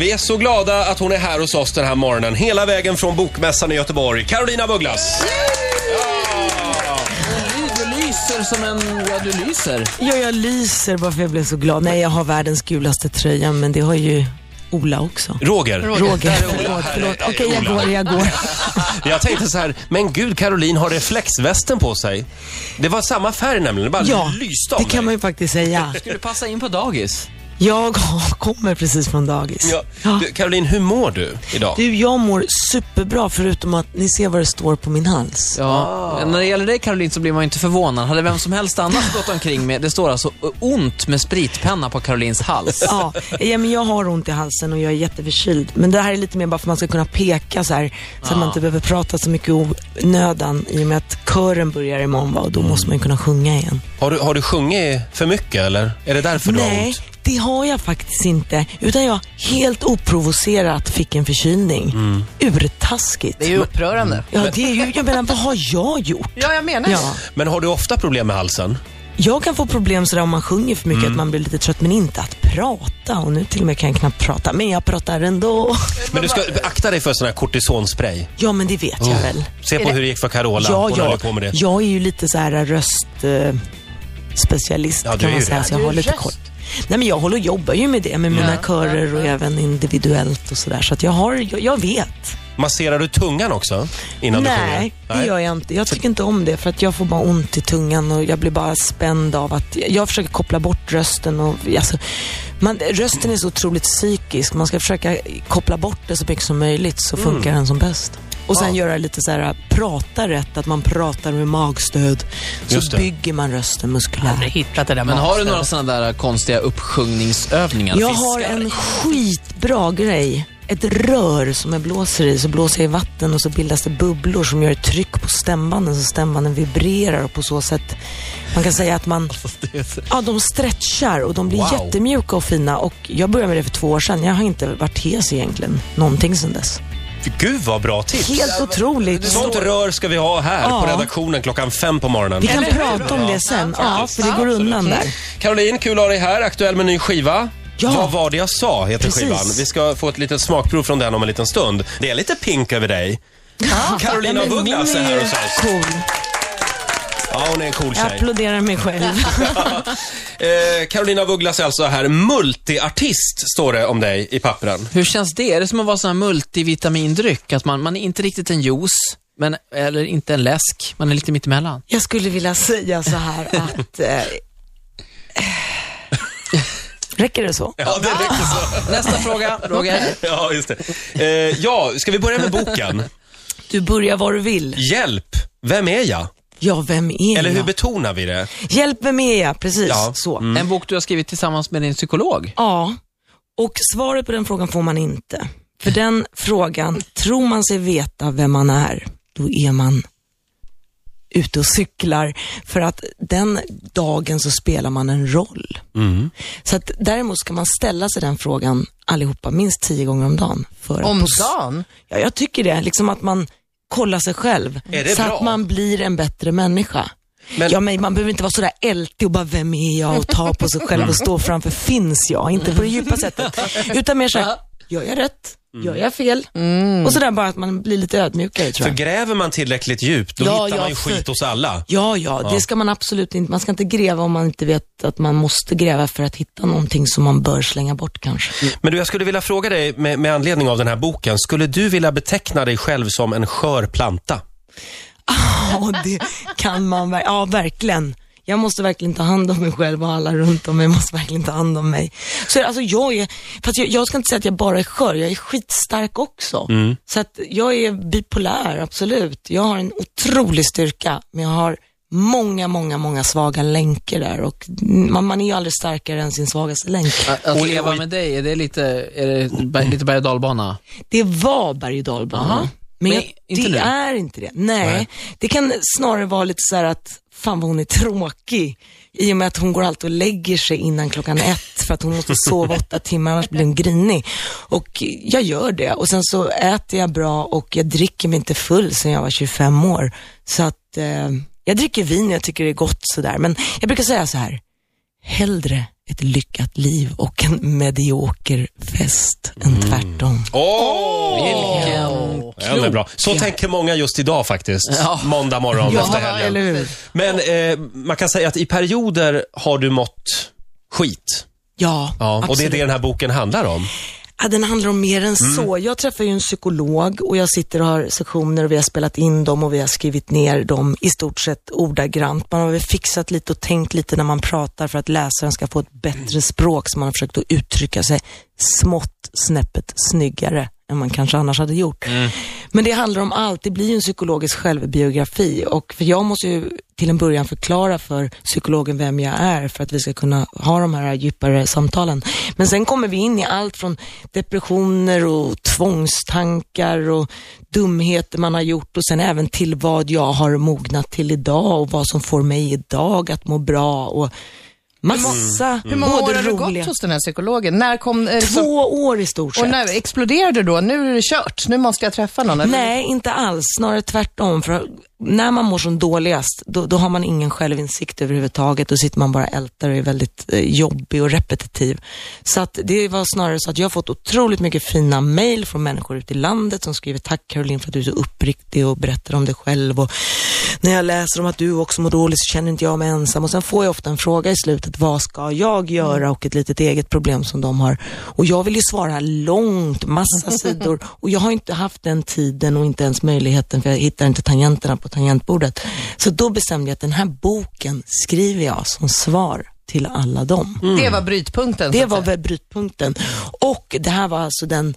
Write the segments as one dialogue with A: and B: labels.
A: är så glada att hon är här hos oss den här morgonen. Hela vägen från Bokmässan i Göteborg. Carolina af Ugglas.
B: Du lyser som en... Ja, du lyser.
C: Ja, jag lyser bara för jag blev så glad. Nej, jag har världens gulaste tröja, men det har ju Ola också.
A: Roger.
C: Roger,
A: Där är Ola.
C: förlåt,
A: Här är
C: förlåt. Okej, jag
A: Ola.
C: går, jag går.
A: Jag tänkte så här, men gud Caroline har reflexvästen på sig. Det var samma färg nämligen, det bara
C: Ja,
A: lyste om
C: det kan man
A: dig.
C: ju faktiskt säga.
B: Skulle passa in på dagis.
C: Jag kommer precis från dagis.
A: Ja. Du, Caroline, hur mår du idag?
C: Du, jag mår superbra förutom att ni ser vad det står på min hals.
B: Ja. Men När det gäller dig Caroline så blir man ju inte förvånad. Hade vem som helst annars gått omkring med... Det står alltså "Ö, ont med spritpenna på Carolines hals.
C: Ja, ja, men jag har ont i halsen och jag är jätteförkyld. Men det här är lite mer bara för att man ska kunna peka så här, så att man inte behöver prata så mycket onödan i och med att kören börjar imorgon va, och då måste man ju kunna sjunga igen.
A: Har, du har du sjungit för mycket eller? Är det därför du har
C: Nej,
A: ont?
C: det har jag faktiskt inte. Utan jag helt oprovocerat fick en förkylning. Urtaskigt.
D: Det är ju upprörande.
C: Ja, det är ju, jag menar, vad har jag gjort?
D: Ja, jag menar
C: Ja.
A: Men har du ofta problem med halsen?
C: Jag kan få problem sådär om man sjunger för mycket, att man blir lite trött, men inte att prata. Och nu till och med kan jag knappt prata, men jag pratar ändå.
A: Men du ska akta dig för sån här kortisonspray.
C: Ja, men det vet jag väl.
A: Se på hur det gick för Carola.
C: Ja,
A: Hon
C: ja.
A: höll på med det.
C: Jag är ju lite så här röst... Eh, specialist
A: Ja, du är
C: kan man
A: ju
C: säga,
A: det.
C: så jag
D: Du är
C: har lite
D: röst.
C: koll. Nej men jag håller och jobbar ju med det, med mina körer och även individuellt och sådär. Så att jag har, jag, jag vet.
A: Masserar du tungan också? Innan du sjunger?
C: Nej, det gör jag inte. Jag tycker inte om det för att jag får bara ont i tungan och jag blir bara spänd av att jag försöker koppla bort rösten och alltså, man, rösten är så otroligt psykisk. Man ska försöka koppla bort det så mycket som möjligt så
A: Mm.
C: funkar den som bäst. Och sen göra lite så här, äh, prata rätt, att man pratar med magstöd.
A: Just det.
C: Så bygger man rösten muskulärt.
D: hittat det där
B: Men har du några sådana där äh, konstiga uppsjungningsövningar?
C: Jag har
B: Fiskar?
C: en skitbra grej. Ett rör som jag blåser i, så blåser jag i vatten och så bildas det bubblor som gör ett tryck på stämbanden så stämbanden vibrerar och på så sätt, man kan säga att man, ja de stretchar och de blir
A: Wow.
C: jättemjuka och fina och jag började med det för två år sedan. Jag har inte varit hes egentligen, någonting sedan dess.
A: Gud vad bra tips!
C: Helt otroligt.
A: Sånt rör ska vi ha här på
C: Ja.
A: redaktionen klockan fem på morgonen.
C: Vi kan prata om det sen, ja, för det går undan där.
A: Caroline, kul att ha dig här. Aktuell med ny skiva.
C: Ja.
A: Vad var det jag sa, heter
C: Precis.
A: skivan. Vi ska få ett litet smakprov från den om en liten stund. Det är lite pink över dig. Carolina af
C: men min
A: Ugglas är här
C: ju
A: hos oss.
C: Cool.
A: Ja, hon är en cool
C: Jag
A: tjej.
C: applåderar mig själv.
A: Eh, Carolina af Ugglas är alltså här. Multiartist, står det om dig i pappren.
B: Hur känns det? Är det som att vara sån här multivitamindryck? Att man, man är inte riktigt en juice, men, eller inte en läsk. Man är lite mittemellan.
C: Jag skulle vilja säga så här att... Eh, räcker det så?
A: Ja, det räcker så.
B: Nästa fråga, Roger.
A: Ja, just det. Eh, ja, ska vi börja med boken?
C: Du börjar var du vill.
A: Hjälp, vem är jag?
C: Ja, vem är
A: Eller hur
C: jag?
A: betonar vi det?
C: Hjälp, vem är jag? Precis
A: Ja. Mm.
C: så.
B: Mm. En bok du har skrivit tillsammans med din psykolog.
C: Ja, och svaret på den frågan får man inte. För den frågan, tror man sig veta vem man är, då är man ute och cyklar. För att den dagen så spelar man en roll.
A: Mm.
C: Så att däremot ska man ställa sig den frågan allihopa minst tio gånger om dagen. För att
D: Om
C: på
D: dagen?
C: Ja, jag tycker det. Liksom att man kollar sig själv.
A: Är det
C: så
A: bra?
C: att man blir en bättre människa.
A: Men-
C: ja, men man behöver inte vara sådär ältig och bara, vem är jag? Och ta på sig själv och stå framför, finns jag? Inte på det
A: Mm.
C: djupa sättet. Utan mer såhär, gör jag rätt? Gör jag fel? Och sådär bara att man blir lite ödmjukare tror
A: För
C: jag.
A: gräver man tillräckligt djupt, då
C: Ja,
A: hittar
C: ja,
A: man ju
C: för-
A: skit hos alla.
C: Ja, ja, det ska man absolut inte. Man ska inte gräva om man inte vet att man måste gräva för att hitta någonting som man bör slänga bort kanske.
A: Men du, jag skulle vilja fråga dig med, med anledning av den här boken. Skulle du vilja beteckna dig själv som en skör planta?
C: Ja, det kan man ver- Ja, verkligen. Jag måste verkligen ta hand om mig själv och alla runt om mig måste verkligen ta hand om mig. Så alltså jag är, fast jag, jag ska inte säga att jag bara är skör, jag är skitstark också. Så att jag är bipolär, absolut. Jag har en otrolig styrka, men jag har många, många, många svaga länkar där och man, man är ju aldrig starkare än sin svagaste länk.
B: Att, att leva med dig, är det lite, är det ba- lite berg och dalbana?
C: Det var berg och dalbana.
B: Aha.
C: Men,
B: Men
C: jag,
B: inte
C: det
B: nu?
C: är inte det. Nej.
A: Nej.
C: det kan snarare vara lite så här att, fan vad hon är tråkig. I och med att hon går alltid och lägger sig innan klockan ett för att hon måste sova åtta timmar annars blir hon grinig. Och jag gör det och sen så äter jag bra och jag dricker mig inte full sen jag var 25 år. Så att eh, jag dricker vin, jag tycker det är gott sådär. Men jag brukar säga så här, hellre ett lyckat liv och en medioker fest
B: Mm.
C: än tvärtom.
A: Åh!
B: Vilken...
A: Den är bra. Så tänker många just idag faktiskt.
B: Ja.
A: Måndag morgon efter helgen.
C: eller hur?
A: Men eh, man kan säga att i perioder har du mått skit.
C: Ja,
A: Ja, och det är
C: absolut.
A: det Mm. den här boken handlar om.
C: Ja, den handlar om mer än så. Jag träffar ju en psykolog och jag sitter och har sessioner och vi har spelat in dem och vi har skrivit ner dem i stort sett ordagrant. Man har väl fixat lite och tänkt lite när man pratar för att läsaren ska få ett bättre språk så man har försökt att uttrycka sig smått, snäppet, snyggare än man kanske annars hade gjort. Men det handlar om allt. Det blir ju en psykologisk självbiografi och för jag måste ju till en början förklara för psykologen vem jag är för att vi ska kunna ha de här djupare samtalen. Men sen kommer vi in i allt från depressioner och tvångstankar och dumheter man har gjort och sen även till vad jag har mognat till idag och vad som får mig idag att må bra och massa
D: Hur många år
C: både
D: har du
C: roliga.
D: gått hos den här psykologen? När kom... eh, Liksom,
C: Två år i stort sett.
D: och när exploderade du då? Nu är det kört, nu måste jag träffa någon. Mm. eller?
C: Nej, inte alls. Snarare tvärtom. För när man mår som dåligast, då, då har man ingen självinsikt överhuvudtaget. Då sitter man bara och ältar och är väldigt eh, jobbig och repetitiv. Så att det var snarare så att jag har fått otroligt mycket fina mejl från människor ute i landet som skriver tack Caroline för att du är så uppriktig och berättar om dig själv. Och när jag läser om att du också mår dåligt så känner inte jag mig ensam. Och sen får jag ofta en fråga i slutet, vad ska jag göra? Och ett litet eget problem som de har. Och jag vill ju svara långt, massa sidor. Och jag har inte haft den tiden och inte ens möjligheten för jag hittar inte tangenterna på tangentbordet. Så då bestämde jag att den här boken skriver jag som svar till alla dem.
D: Det var brytpunkten.
C: Mm.
D: så
C: Det
D: att
C: var
D: säga.
C: väl brytpunkten. Och det här var alltså den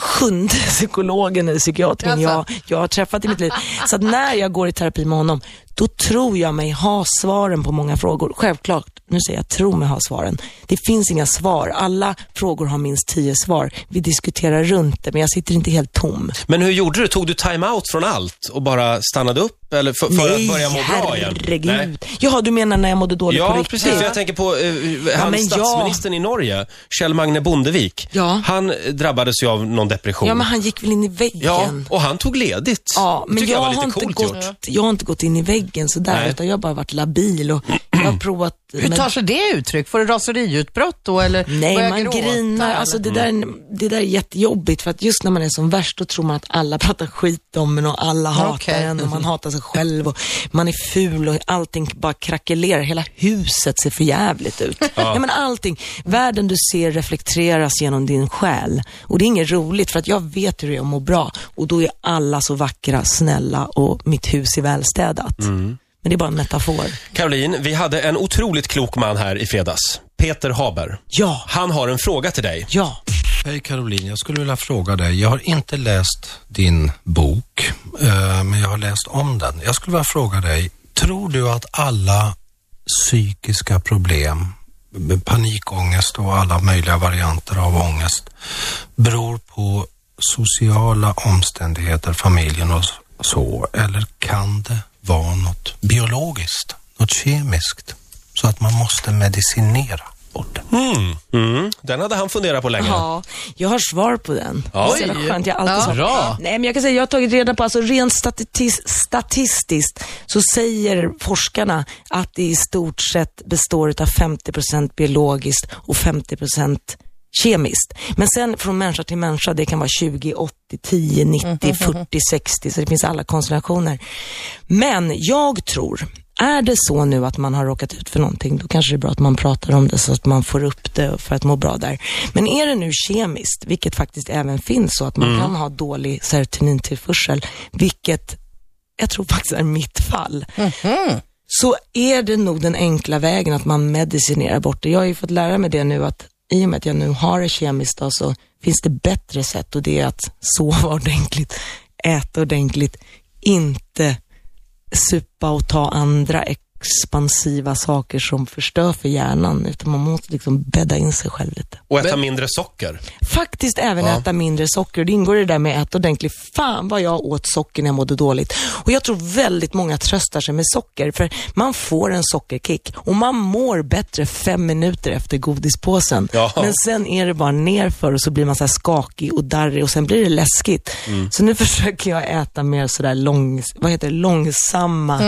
C: sjunde psykologen eller psykiatern jag, jag har träffat i mitt liv. Så att när jag går i terapi med honom, då tror jag mig ha svaren på många frågor. Självklart, nu säger jag tror mig ha svaren. Det finns inga svar. Alla frågor har minst tio svar. Vi diskuterar runt det, men jag sitter inte helt tom.
A: Men hur gjorde du? Tog du time-out från allt och bara stannade upp eller för, för att börja må bra igen?
C: herregud. Jaha, du menar när jag mådde dåligt på
A: Ja,
C: riktigt?
A: precis. För jag tänker på eh, han
C: men ja.
A: statsministern i Norge, Kjell Magne Bondevik.
C: Ja.
A: Han eh, drabbades ju av någon depression.
C: Ja, men han gick väl in i väggen?
A: Ja, och han tog ledigt.
C: Ja,
A: det
C: men
A: tycker
C: jag,
A: jag var
C: har
A: lite
C: inte
A: coolt
C: gått,
A: gjort.
C: jag har inte gått in i väggen sådär,
A: Nej.
C: utan jag har bara varit labil och jag har provat.
D: Hur
C: men-
D: tar sig det uttryck? Får du raseriutbrott då eller
C: Nej,
D: börjar
C: man
D: gråta,
C: grinar.
D: eller?
C: Alltså, det, där, är- det där är jättejobbigt för att just när man är som värst då tror man att alla pratar skit om en och alla hatar
D: Okej.
C: en och man hatar sig själv och man är ful och allting bara krackelerar. Hela huset ser för jävligt ut. Ja. men allting. Världen du ser reflekteras genom din själ och det är inget roligt för att jag vet hur det är att må bra och då är alla så vackra, snälla och mitt hus är välstädat. Men det är bara en metafor.
A: Caroline, vi hade en otroligt klok man här i fredags. Peter Haber.
C: Ja,
A: Han har en fråga till dig.
C: ja.
E: Hej Caroline, jag skulle vilja fråga dig. Jag har inte läst din bok, eh, men jag har läst om den. Jag skulle vilja fråga dig, tror du att alla psykiska problem, b- panikångest och alla möjliga varianter av ångest beror på sociala omständigheter, familjen och s- så? Eller kan det vara något biologiskt, något kemiskt, så att man måste medicinera bort det?
A: Mm, den hade han funderat på länge.
C: Ja, jag har svar på den.
A: Ja.
C: Det är så jävla skönt. Jag har alltid
D: Ja.
C: svar.
B: Bra.
C: Nej, men jag kan säga, jag har tagit reda på, alltså rent statis- statistiskt så säger forskarna att det i stort sett består av 50% biologiskt och 50% kemiskt. Men sen från människa till människa, det kan vara 20, 80, 10, 90, 40, 60, så det finns alla konstellationer. Men jag tror, är det så nu att man har råkat ut för någonting, då kanske det är bra att man pratar om det så att man får upp det för att må bra där. Men är det nu kemiskt, vilket faktiskt även finns så att man kan ha dålig serotonintillförsel, vilket jag tror faktiskt är mitt fall, så är det nog den enkla vägen att man medicinerar bort det. Jag har ju fått lära mig det nu att i och med att jag nu har det kemiskt då, så finns det bättre sätt och det är att sova ordentligt, äta ordentligt, inte supa och ta andra expansiva saker som förstör för hjärnan, utan man måste liksom bädda in sig själv lite.
A: Och äta mindre socker.
C: Faktiskt även äta mindre socker. Det ingår i det där med att äta ordentligt. Fan vad jag åt socker när jag mådde dåligt. Och jag tror väldigt många tröstar sig med socker, för man får en sockerkick och man mår bättre fem minuter efter godispåsen.
A: Ja.
C: Men sen är det bara nerför och så blir man så här skakig och darrig och sen blir det läskigt. Så nu försöker jag äta mer sådär långs vad heter det, långsamma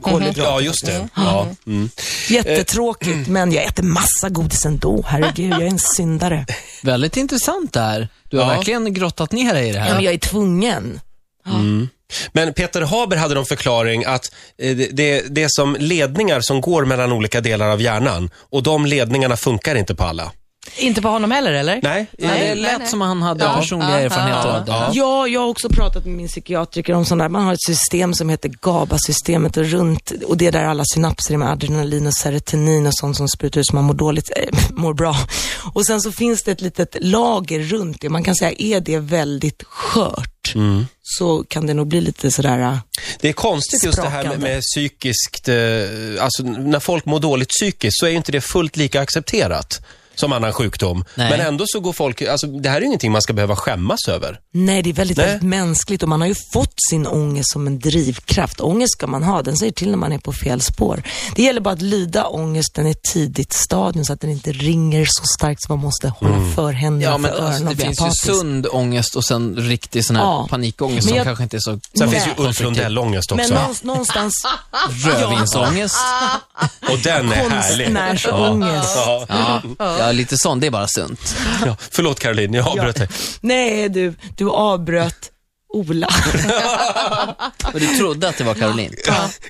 C: kolhydrater.
A: Ja, just det. Ja. Mm.
C: Jättetråkigt, men jag äter massa godis ändå. Herregud, jag är en syndare.
B: Väldigt intressant det här. Du har
A: Ja.
B: verkligen grottat ner dig i det
C: Ja, men
B: här.
C: jag är tvungen.
A: Men Peter Haber hade någon förklaring att eh, det- det, det är som ledningar som går mellan olika delar av hjärnan och de ledningarna funkar inte på alla. Eh,
D: Inte på honom heller, eller?
A: Nej,
B: Ja, det
D: Nej,
B: lät
D: nej.
B: som att han hade
D: Ja.
B: personliga
D: Ja,
B: erfarenheter
D: ja,
B: av det.
A: ja.
C: Ja, jag har också pratat med min psykiatriker om sådana där. Man har ett system som heter GABA-systemet och runt och det är där alla synapser är med adrenalin och serotonin och sånt som sprutar ut så man mår dåligt, äh, mår bra. Och sen så finns det ett litet lager runt det. Man kan säga, är det väldigt skört så kan det nog bli lite sådär, äh,
A: Det är konstigt just det här med,
C: Sprakande.
A: med psykiskt, eh, alltså när folk mår dåligt psykiskt så är ju inte det fullt lika accepterat som annan sjukdom.
B: Nej.
A: Men ändå så går folk, alltså det här är ju ingenting man ska behöva skämmas över.
C: nej det är väldigt,
A: Nej.
C: väldigt mänskligt och man har ju fått sin ångest som en drivkraft. Ångest ska man ha, den säger till när man är på fel spår. Det gäller bara att lyda ångesten i ett tidigt stadium så att den inte ringer så starkt så man måste hålla
A: Mm.
C: för händerna
B: Ja, men
C: för öronen
B: alltså, det
C: och bli
B: finns
C: apatisk.
B: ju sund ångest och sen riktig sån här
C: Ja.
B: panikångest
C: Men
B: som
C: jag-
B: kanske inte är så...
A: Sen
C: Nej.
A: finns ju Ulf Lundell-ångest
C: Men
A: också.
C: någonstans, någonstans
B: Rödvinsångest.
A: Och den är härlig.
C: konstnärsångest.
A: Ja.
B: Ja. ja, lite sån. Det är bara sunt.
A: Ja. Förlåt Caroline, jag avbröt dig.
C: Nej du, du avbröt Ola.
B: Och du trodde att det var Caroline.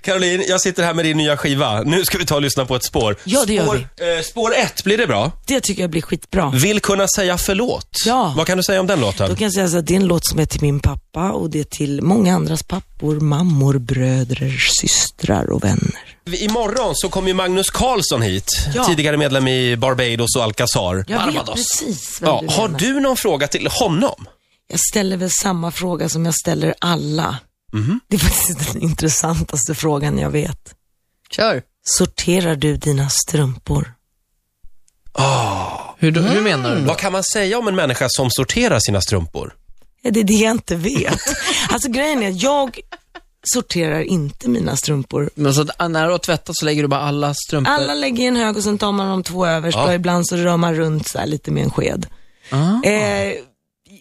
A: Caroline, jag sitter här med din nya skiva. Nu ska vi ta och lyssna på ett spår.
C: Ja, det gör
A: spår, eh, spår ett, blir det bra?
C: Det tycker jag blir skitbra.
A: Vill kunna säga förlåt.
C: Ja.
A: Vad kan du säga om den
C: Då
A: låten?
C: kan jag säga så att det är en låt som är till min pappa och det är till många andras pappor, mammor, bröder, systrar och vänner.
A: Imorgon så kommer ju Magnus Carlsson hit.
C: Ja.
A: Tidigare medlem i Barbados och Alcazar.
C: Jag vet
B: Barbados.
C: precis vem
A: Ja,
C: du
A: har
C: menar.
A: du någon fråga till honom?
C: Jag ställer väl samma fråga som jag ställer alla.
A: Mhm.
C: Det är faktiskt den intressantaste frågan jag vet.
D: Kör.
C: Sorterar du dina strumpor?
B: Hur, hur
C: Mm.
B: menar du?
A: Vad kan man säga om en människa som sorterar sina strumpor?
C: Ja, det är det jag inte vet. Alltså grejen är, jag sorterar inte mina strumpor.
B: Men så att när du har tvättat så lägger du bara alla strumpor?
C: Alla lägger i en hög och sen tar man de två översta
A: Ja.
C: och ibland så rör man runt så här lite med en sked.
B: Ah.
C: Eh,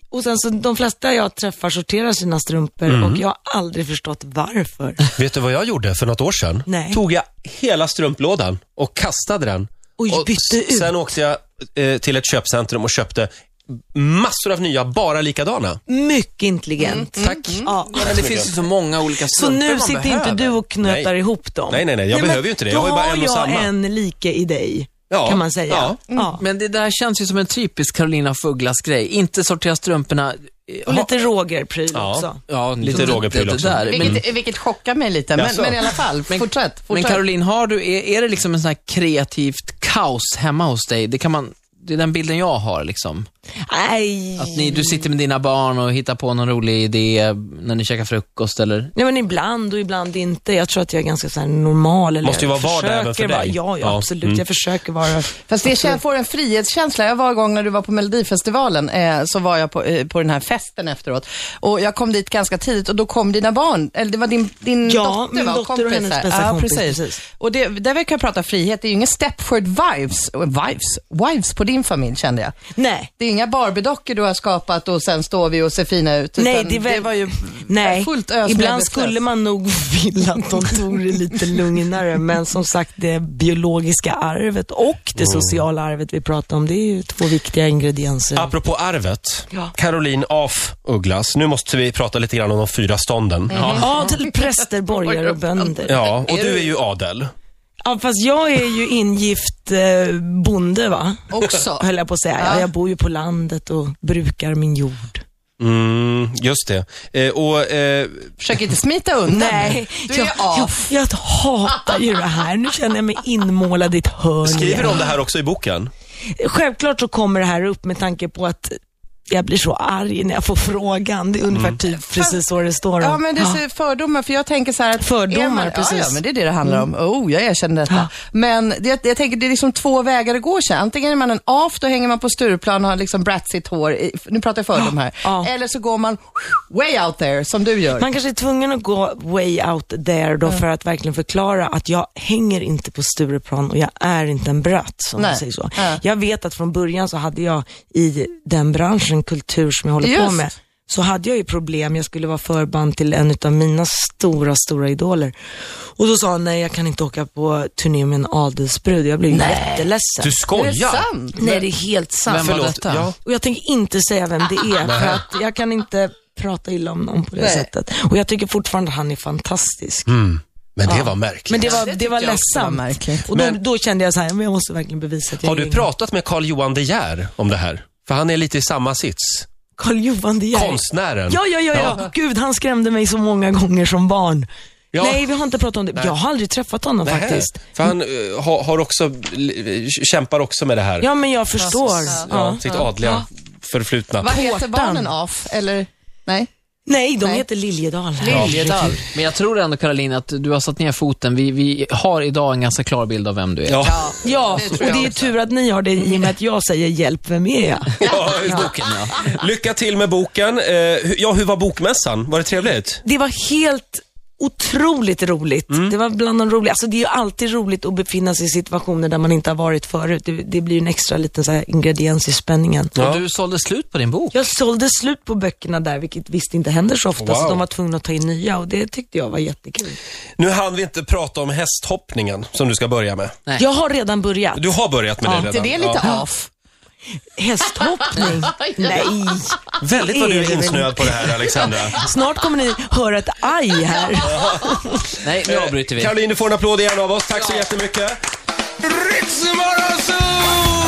C: och sen så de flesta jag träffar sorterar sina strumpor
A: Mhm.
C: och jag har aldrig förstått varför.
A: Vet du vad jag gjorde för något år sedan?
C: Nej.
A: Tog jag hela strumplådan och kastade den.
C: Oj,
A: och
C: bytte
A: s-
C: ut.
A: Sen åkte jag eh, till ett köpcentrum och köpte massor av nya, bara likadana.
C: Mycket intelligent.
A: Tack.
C: Ja.
B: Men det finns ju så många olika
C: Så
B: strumpor
C: nu
B: man
C: sitter
B: behöver.
C: inte du och knötar
A: Nej.
C: ihop dem.
A: Nej, nej, nej, jag
C: men
A: behöver ju inte det.
C: då
A: Jag har ju bara en och samma.
C: jag en like i dig,
A: Ja.
C: kan man säga.
A: Ja. Mm.
C: Ja.
B: Men det där känns ju som en typisk Carolina Fugglas grej. Inte sortera strumporna. eh,
C: Och
B: ha-
C: lite Roger-pryl
A: Ja.
C: också.
B: Ja,
A: Lite
B: det-
A: Roger-pryl
B: det- det
A: också.
B: där. Men,
D: Vilket, vilket chockar mig lite, men,
A: Jaså?
D: men i alla fall.
B: Men-
D: fortsätt. fortsätt.
B: men Caroline, har du, är, är det liksom en sån här kreativt kaos hemma hos dig? Det kan man, det är den bilden jag har liksom.
C: Nej.
B: Att ni, du sitter med dina barn och hittar på någon rolig idé när ni käkar frukost eller?
C: Nej men ibland och ibland inte. Jag tror att jag är ganska så här normal. Eller
A: Måste ju
C: jag
A: vara vardag
C: försöker
A: även för
C: vara-
A: dig.
C: Ja, ja,
A: Ja.
C: absolut.
A: Mm.
C: Jag försöker vara...
D: Fast det känns, får en frihetskänsla. Jag var en gång när du var på Melodifestivalen, eh, så var jag på, eh, på den här festen efteråt. Och jag kom dit ganska tidigt och då kom dina barn, eller det var din, din
C: Ja,
D: dotter
C: min
D: va?
C: dotter och hennes bästa
D: ja,
C: kompis,
D: precis.
C: precis.
D: Och det, där vi kan prata frihet, det är ju inga Stepford wives, wives, wives på din familj kände jag.
C: Nej.
D: Det är inga Barbie-dockor du har skapat och sen står vi och ser fina ut.
C: Nej,
D: utan
C: det, är väl,
D: var ju
C: Nej.
D: fullt ös med
C: Ibland
D: stress.
C: skulle man nog vilja att de tog det lite lugnare, men som sagt det biologiska arvet och det
A: Mm.
C: sociala arvet vi pratar om, det är ju två viktiga ingredienser.
A: Apropå arvet,
C: Mm. Ja.
A: Caroline af Ugglas. Nu måste vi prata lite grann om de fyra stånden.
C: Ja, till präster, borgare och bönder.
A: Ja, och du är ju adel.
C: Ja, fast jag är ju ingift eh, bonde, va?
D: också.
C: Höll jag på att säga. Ja, jag bor ju på landet och brukar min jord.
A: Mm, just det. Eh, och, eh,
D: Försök inte smita undan.
C: Nej,
D: Du är
C: jag, jag,
D: af.
C: jag hatar ju det här. Nu känner jag mig inmålad i ett hörn.
A: skriver
C: igen.
A: du om det här också i boken?
C: Självklart så kommer det här upp med tanke på att jag blir så arg när jag får frågan. Det är ungefär typ precis så det står om.
D: Ja, men det är fördomar, för jag tänker så här att...
C: Fördomar,
D: är man,
C: precis. Mm.
D: Ja, ja, men det är det det handlar om. Oh, jag erkänner detta.
C: Ja.
D: Men det, jag tänker, det är liksom två vägar att gå sen. Antingen är man en af, då hänger man på Stureplan och har liksom bratsigt hår. i- Nu pratar jag fördom här.
C: Ja.
D: Eller så går man way out there, som du gör.
C: Man kanske är tvungen att gå way out there då för att verkligen förklara att jag hänger inte på Stureplan och jag är inte en bratt, som man
D: Nej.
C: säger så.
D: Ja.
C: Jag vet att från början så hade jag i den branschen, kultur som jag håller på
D: Just.
C: med, så hade jag ju problem. Jag skulle vara förband till en av mina stora, stora idoler. Och då sa han, nej jag kan inte åka på turné med en adelsbrud. Jag blev jätteledsen.
A: Du
D: Är det
A: skojar?
D: sant?
C: Nej, det är helt sant.
B: Vem var
A: Förlåt,
B: detta?
A: ja.
C: Och jag tänker inte säga vem det är, för att jag kan inte prata illa om någon på det
D: Nej.
C: sättet. Och jag tycker fortfarande han är fantastisk.
A: Men det var märkligt.
C: Men det var, det
D: tycker
C: var
D: jag också var
C: ledsamt.
D: märkligt.
C: och då,
A: Men-
C: då kände jag så här, men jag måste verkligen bevisa att jag
A: Har
C: är
A: du pratat med Carl Johan De Geer om det här? För han är lite i samma sits.
C: Carl-Johan De Geer.
A: Konstnären.
C: Ja, ja, ja, ja, Gud, han skrämde mig så många gånger som barn.
A: Ja.
C: Nej, vi har inte pratat om det. Jag har aldrig träffat honom
A: Nähä.
C: faktiskt.
A: För han eh, har, har också, l- eh, kämpar också med det här.
C: Ja, men jag förstår. Ja.
A: Ja, typ. sitt adliga förflutna.
D: Vad heter
C: Tårtan.
D: barnen Af? Eller? Nej?
C: Nej, de
D: Nej.
C: heter Liljedahl.
D: Liljedahl.
B: Men jag tror ändå, Caroline, att du har satt ner foten. Vi, vi har idag en ganska klar bild av vem du är.
A: Ja, ja.
C: Ja,
D: Det
C: och
D: tror jag
C: det är tur att ni har det i och med att jag säger hjälp, vem är jag?
A: just det. Lycka till med boken. Eh, hu- Ja, hur var bokmässan? Var det trevligt?
C: Det var helt otroligt roligt.
A: Mm.
C: Det var bland de roliga, alltså det är ju alltid roligt att befinna sig i situationer där man inte har varit förut. Det, det blir ju en extra liten så här ingrediens i spänningen.
A: Ja.
B: Och du sålde slut på din bok.
C: Jag sålde slut på böckerna där, vilket visst inte händer så ofta, så
A: Wow.
C: de var tvungna att ta in nya och det tyckte jag var jättekul.
A: Nu hann vi inte prata om hästhoppningen som du ska börja med.
B: Nej.
C: Jag har redan börjat.
A: Du har börjat med det
D: Inte
A: redan.
D: det lite
A: Ja.
D: Af?
C: Hästhoppning? Nej.
A: Väldigt vad
C: Det
A: du
C: är det
A: är
C: väl
A: insnöad på det här, Alexandra.
C: Snart kommer ni höra ett aj här.
B: Nej, nu
A: Eh,
B: avbryter vi.
A: Caroline, du får en applåd igen av oss. Tack så jättemycket. Riksmorgonzoo!